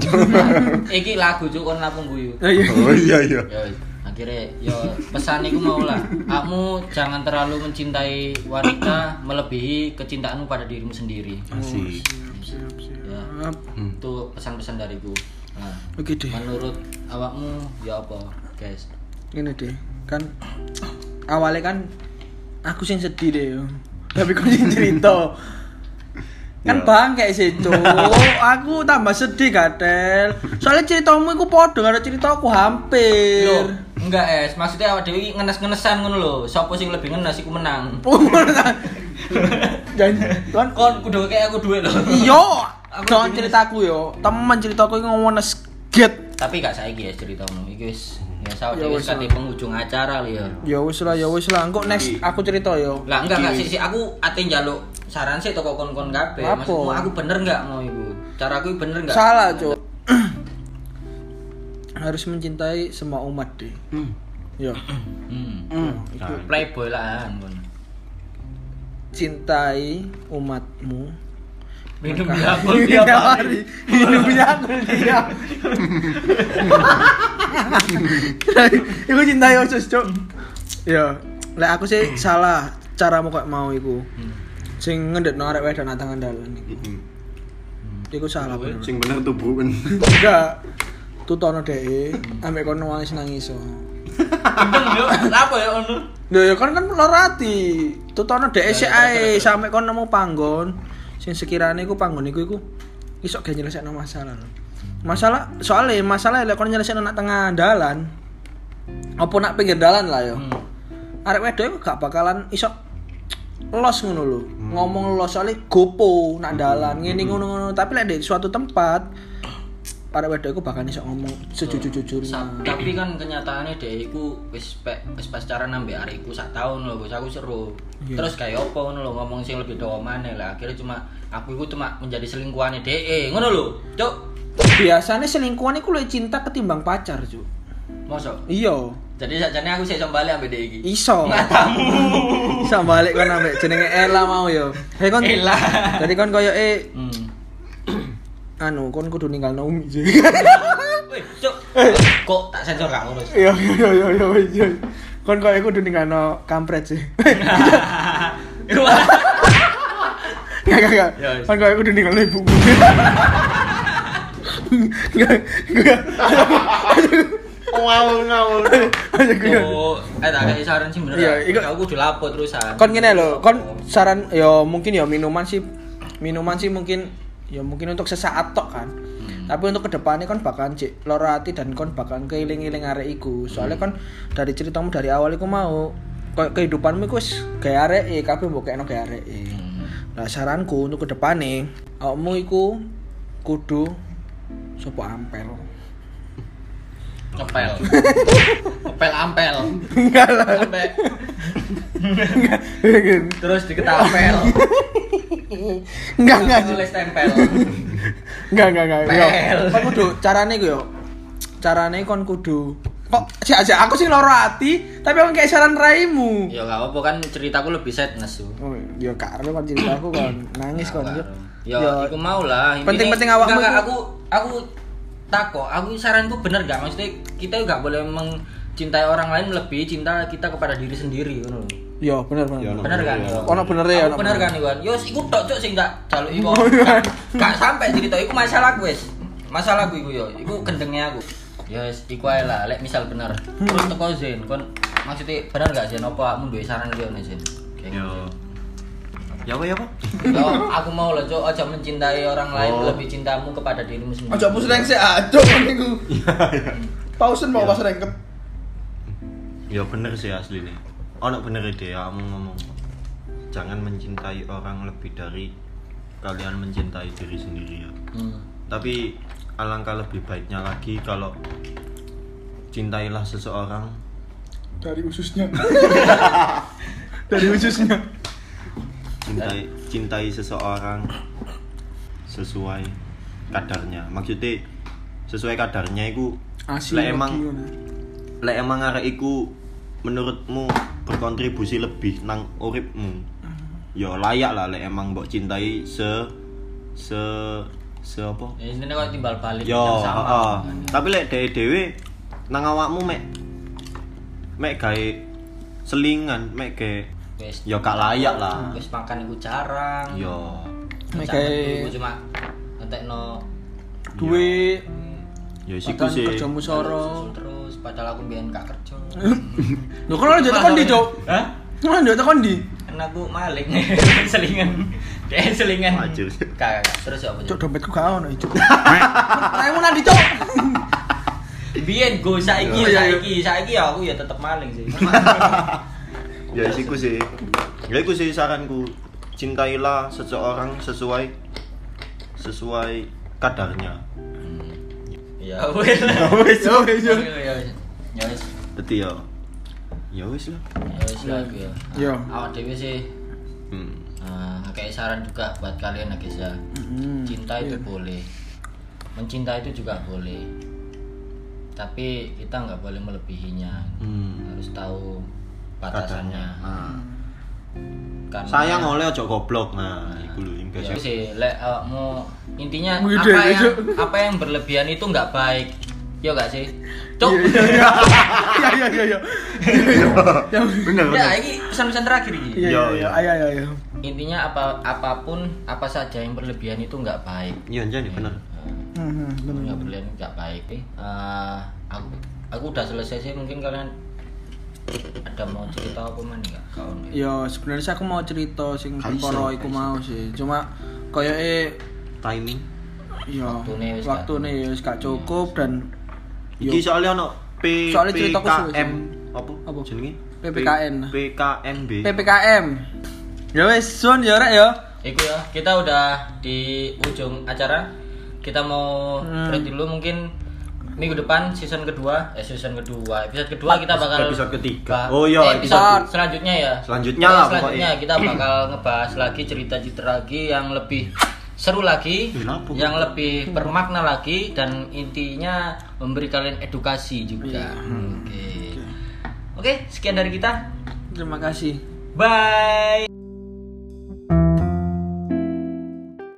Speaker 3: iki lagu cuk kon lapung guyu
Speaker 2: Eh, iya.
Speaker 1: Oh iya iya.
Speaker 3: ya wis. akhirnya yo pesan iku mau lah kamu jangan terlalu mencintai wanita melebihi kecintaanmu pada dirimu sendiri
Speaker 1: Masih.
Speaker 2: Siap, siap,
Speaker 3: Ya.
Speaker 2: siap.
Speaker 3: itu pesan-pesan dariku nah,
Speaker 2: Oke deh.
Speaker 3: menurut awakmu ya apa guys
Speaker 2: Ini deh, kan awalnya kan aku sih sedih deh. yo. Tapi kau sih cerita. kan
Speaker 1: Iya.
Speaker 2: bangke sih Cuk. aku tambah sedih katel soalnya ceritamu itu podo karo ceritaku hampir
Speaker 3: Yo, enggak es, maksudnya awak dewi ngenes-ngenesan ngono lho. Sopo sing lebih ngenes iku menang.
Speaker 2: jangan kan
Speaker 3: Kon kudu kayak aku duit lho.
Speaker 2: Yo, jangan ceritaku yo. Teman ceritaku iki ngomong nesget.
Speaker 3: Tapi gak saiki es ceritamu. Iki wis ya sawo
Speaker 2: Ya,
Speaker 3: dewi
Speaker 2: wis,
Speaker 3: wis kate
Speaker 2: lah.
Speaker 3: penghujung acara lho ya.
Speaker 2: Ya wis lah, ya wis lah. Engko next aku cerita yo.
Speaker 3: Lah enggak enggak sih sih aku ate njaluk saran sih toko kon-kon kabeh.
Speaker 2: Apa?
Speaker 3: Maksudmu aku bener enggak mau iku? Caraku bener enggak?
Speaker 2: Salah, Cuk. Harus mencintai semua umat deh. Yo,
Speaker 3: Hmm.
Speaker 1: Nah,
Speaker 3: Playboy lah kon.
Speaker 2: cintai umatmu.
Speaker 3: Minum
Speaker 2: Maka-
Speaker 3: biakul tiap hari.
Speaker 2: Minum biakul tiap. Iku cintai usus, Cuk. Yo, lek aku sih salah caramu kok mau iku. Sing ngendekno arek wedok nang tangan dalan iku.
Speaker 1: Mm-mm.
Speaker 2: Iku salah bener.
Speaker 1: Hmm. Sing bener tuh Bruin.
Speaker 2: Enggak. Tutono dhek ambek kono wis nang iso.
Speaker 3: Minum yo. Lah Apa ya ono?
Speaker 2: Lho ya kan kan lor ati. Tutono dhek sik ae sampe kono nemu panggon sing sekirane iku panggon iku iku iso gak nyelesekno masalah. lho. Masalah soalnya masalah lek kono nyelesekno nak tengah dalan. Apa nak pinggir dalan lah yo.
Speaker 3: Hmm.
Speaker 2: Arek wedok iku gak bakalan iso los ngono lho. Ngomong los soalnya gopo nak dalan ngene ngono-ngono. Tapi lek di suatu tempat arek wedok iku bakal iso ngomong
Speaker 3: Sa-
Speaker 2: sejujur-jujurnya.
Speaker 3: tapi kan kenyataannya deh iku wis pe, wis pacaran ambek arek iku sak tahun lho Gus aku seru.
Speaker 2: Iya.
Speaker 3: Terus kayak opo ngono lho ngomong sing lebih doa maneh lah akhirnya cuma aku iku cuma menjadi selingkuhannya deh ngono lho. Cuk.
Speaker 2: Biasanya selingkuhan iku luwih cinta ketimbang pacar, Cuk.
Speaker 3: Mosok.
Speaker 2: Iya,
Speaker 3: Jadi sakjane aku sik iso bali ambek deh iki.
Speaker 2: iso. Iso balik kon ambek jenenge Ela mau yo. Hei kon.
Speaker 3: Ella.
Speaker 2: Jadi kon koyo e
Speaker 3: Hmm.
Speaker 2: anu kon kudu ninggalno Umi. Cuk.
Speaker 3: Weh, Cuk. Kok tak sensor gak ngono?
Speaker 2: Eh. Iya, iya, iya, iya, iya, iya. Kon koyo e kudu ninggalno kampret sih. Enggak, enggak, enggak.
Speaker 3: Ya, wis.
Speaker 2: Kon koyo e kudu ninggalno ibuku. Enggak, enggak.
Speaker 1: Oh, Wow, ngawur.
Speaker 2: Ayo gue.
Speaker 3: Oh, eh tak kayak saran sih bener.
Speaker 2: Iya,
Speaker 3: Iya,
Speaker 2: iku-
Speaker 3: aku kudu lapor terusan.
Speaker 2: kon ngene lho, kon saran ya mungkin ya minuman sih minuman sih mungkin ya mungkin untuk sesaat tok kan. Tapi untuk kedepannya kon bakalan cek loro hati dan kon bakalan keiling-iling arek iku. Soalnya kon dari ceritamu dari awal iku mau koyo kehidupanmu iku wis gaya arek e, kabeh mbok kekno gaya arek e.
Speaker 3: Hmm.
Speaker 2: Nah, saranku untuk kedepannya awakmu iku kudu sopo ampel.
Speaker 3: Ngepel. Ngepel ampel.
Speaker 2: Enggak lah.
Speaker 3: Sampai terus diketapel.
Speaker 2: Enggak enggak.
Speaker 3: Nulis tempel.
Speaker 2: Enggak enggak enggak. Yo,
Speaker 3: Pel.
Speaker 2: Kon kudu carane ku yo. Carane kon kudu kok sih aja aku sih loro hati tapi aku kayak saran raimu
Speaker 3: Ya gak apa kan ceritaku lebih sadness tuh.
Speaker 2: oh yo karo kan cerita aku kan nangis kan yo
Speaker 3: Ya, iku mau lah. Intinya-
Speaker 2: Penting-penting awakmu
Speaker 3: Enggak, enggak,
Speaker 2: iku.
Speaker 3: aku aku takok, aku saranku bener gak maksudnya kita gak boleh mencintai orang lain lebih cinta kita kepada diri sendiri ngono lho.
Speaker 2: yo Iya, bener bener
Speaker 1: Ya, no.
Speaker 3: Bener kan?
Speaker 1: Iya.
Speaker 2: Ono bener ya, ono bener.
Speaker 3: Aku Bener
Speaker 2: Oh, iya.
Speaker 3: kan Iwan? Yo iku tok cuk sing tak jaluki kok. Gak sampai cerita iku masalah aku wis. Masalah aku iku yo, iku gendengnya aku. Ya wis iku ae lah, lek misal bener. Terus teko Zen, kon maksudnya bener gak Zen apa aku duwe saran yo nih Zen? Kayak gitu.
Speaker 1: Yo. Ya apa ya apa?
Speaker 3: Yo, aku mau loh, Cok. Ojo mencintai orang lain,
Speaker 1: Oh.
Speaker 3: lebih cintamu kepada dirimu sendiri.
Speaker 2: Ojo pusreng sih aduh niku.
Speaker 1: Iya,
Speaker 2: Pausen mau pas rengket.
Speaker 1: Ya bener sih asli nih. Oh, nak bener ide ya kamu ngomong. Jangan mencintai orang lebih dari kalian mencintai diri sendiri ya.
Speaker 3: Hmm.
Speaker 1: Tapi alangkah lebih baiknya lagi kalau cintailah seseorang
Speaker 2: Dari ususnya. Dari ususnya.
Speaker 1: cintai cintai seseorang sesuai kadarnya maksudnya sesuai kadarnya itu lek emang lek emang arek iku menurutmu berkontribusi lebih nang uripmu ya layak lah lek emang mbok cintai se se se apa
Speaker 3: Ya, intinya kalau timbal balik
Speaker 1: yo
Speaker 3: yang sama.
Speaker 1: heeh. tapi lek dhewe dhewe nang awakmu mek mek gawe selingan mek gawe
Speaker 3: Wes,
Speaker 1: ya gak layak lah
Speaker 3: wes makan iku jarang.
Speaker 1: yo
Speaker 3: Wes
Speaker 2: Oke.
Speaker 3: anget iku cuma ngetekno
Speaker 2: Duwe
Speaker 1: ya sik
Speaker 2: tekan
Speaker 1: sih
Speaker 2: kerjamu
Speaker 3: susul
Speaker 2: soro.
Speaker 3: terus padahal aku mbiyen gak kerja.
Speaker 2: Lho kan jatuh kondi, Cok.
Speaker 3: Hah?
Speaker 2: Kan jatuh kondi.
Speaker 3: Karena aku maling selingan. Dia selingan.
Speaker 1: Wajib.
Speaker 3: Kagak, kagak. terus ya apa?
Speaker 2: Cok
Speaker 3: Cok?
Speaker 2: dompetku gak ono, Cok. Raimu nanti, Cok.
Speaker 3: Biyen go saiki
Speaker 2: Iya, iya.
Speaker 3: saiki saiki ya aku ya tetep maling sih.
Speaker 1: ya sih ku sih ya iku sih saranku cintailah seseorang sesuai sesuai kadarnya
Speaker 3: Ya wes. lah.
Speaker 2: Wis, wis,
Speaker 3: Ya
Speaker 2: wis.
Speaker 3: wes. Ya wes.
Speaker 1: jadi ya ya wis lah
Speaker 3: Ya wis lah aku ya.
Speaker 2: Yo.
Speaker 3: Awak dhewe sih
Speaker 1: hmm.
Speaker 3: eh, ngekei saran juga buat kalian ya guys ya.
Speaker 2: Mm-mm.
Speaker 3: Cinta itu
Speaker 2: Hmm, Iya.
Speaker 3: boleh. Mencinta itu juga boleh. Tapi kita nggak boleh melebihinya.
Speaker 1: Hmm.
Speaker 3: Harus tahu batasannya.
Speaker 1: nah.
Speaker 3: Karena
Speaker 1: Ah. sayang oh. oleh ojo goblok nah iku lho yang
Speaker 3: Ya
Speaker 1: biasa
Speaker 3: sih, lek awakmu intinya
Speaker 2: Wih,
Speaker 3: apa
Speaker 2: deh,
Speaker 3: yang
Speaker 2: Cuk.
Speaker 3: apa yang berlebihan itu nggak baik. Yo gak sih? Cuk.
Speaker 2: Ya ya ya ya. Ya.
Speaker 1: iya, bener
Speaker 3: Ya, ini pesan-pesan terakhir ini.
Speaker 2: Ya ya ayo ayo ayo.
Speaker 3: Intinya apa apapun apa saja yang berlebihan itu nggak baik.
Speaker 1: iya jadi bener
Speaker 3: Eh,
Speaker 2: Hmm, bener.
Speaker 3: Nggak berlebihan nggak baik. Eh, aku aku udah selesai sih mungkin kalian ada mau cerita apa man nggak kawan?
Speaker 2: Ya sebenarnya sih aku mau cerita sing
Speaker 1: Gak iso,
Speaker 2: perkara
Speaker 1: gak
Speaker 2: iku
Speaker 1: iso.
Speaker 2: mau sih. Cuma koyoke
Speaker 1: timing
Speaker 2: ya
Speaker 3: Waktune wis gak-
Speaker 2: waktune ya wis gak cukup dan
Speaker 1: iki
Speaker 2: yo
Speaker 1: soalnya ono P
Speaker 2: Soalnya ceritaku suwe
Speaker 1: PKM apa
Speaker 2: Apa?
Speaker 1: jenenge
Speaker 2: PPKN.
Speaker 1: P- PKMB
Speaker 2: PPKM. Ya wis sun ya rek ya.
Speaker 3: Iku ya, kita udah di ujung acara. Kita mau
Speaker 2: Hmm.
Speaker 3: break dulu mungkin minggu depan season kedua, eh season kedua, episode kedua kita bakal
Speaker 1: Episode
Speaker 3: Ba-
Speaker 1: ketiga. Oh iya,
Speaker 3: eh,
Speaker 1: episode
Speaker 3: episode selanjutnya ya.
Speaker 1: Selanjutnya
Speaker 3: Eh,
Speaker 1: lah
Speaker 3: selanjutnya
Speaker 1: pokoknya.
Speaker 3: kita bakal ngebahas lagi cerita-cerita lagi yang lebih seru lagi,
Speaker 1: Ih, lapo.
Speaker 3: yang lebih bermakna lagi dan intinya memberi kalian edukasi
Speaker 1: Iya.
Speaker 3: juga. Oke. Oke, sekian dari kita.
Speaker 2: Terima kasih.
Speaker 3: Bye.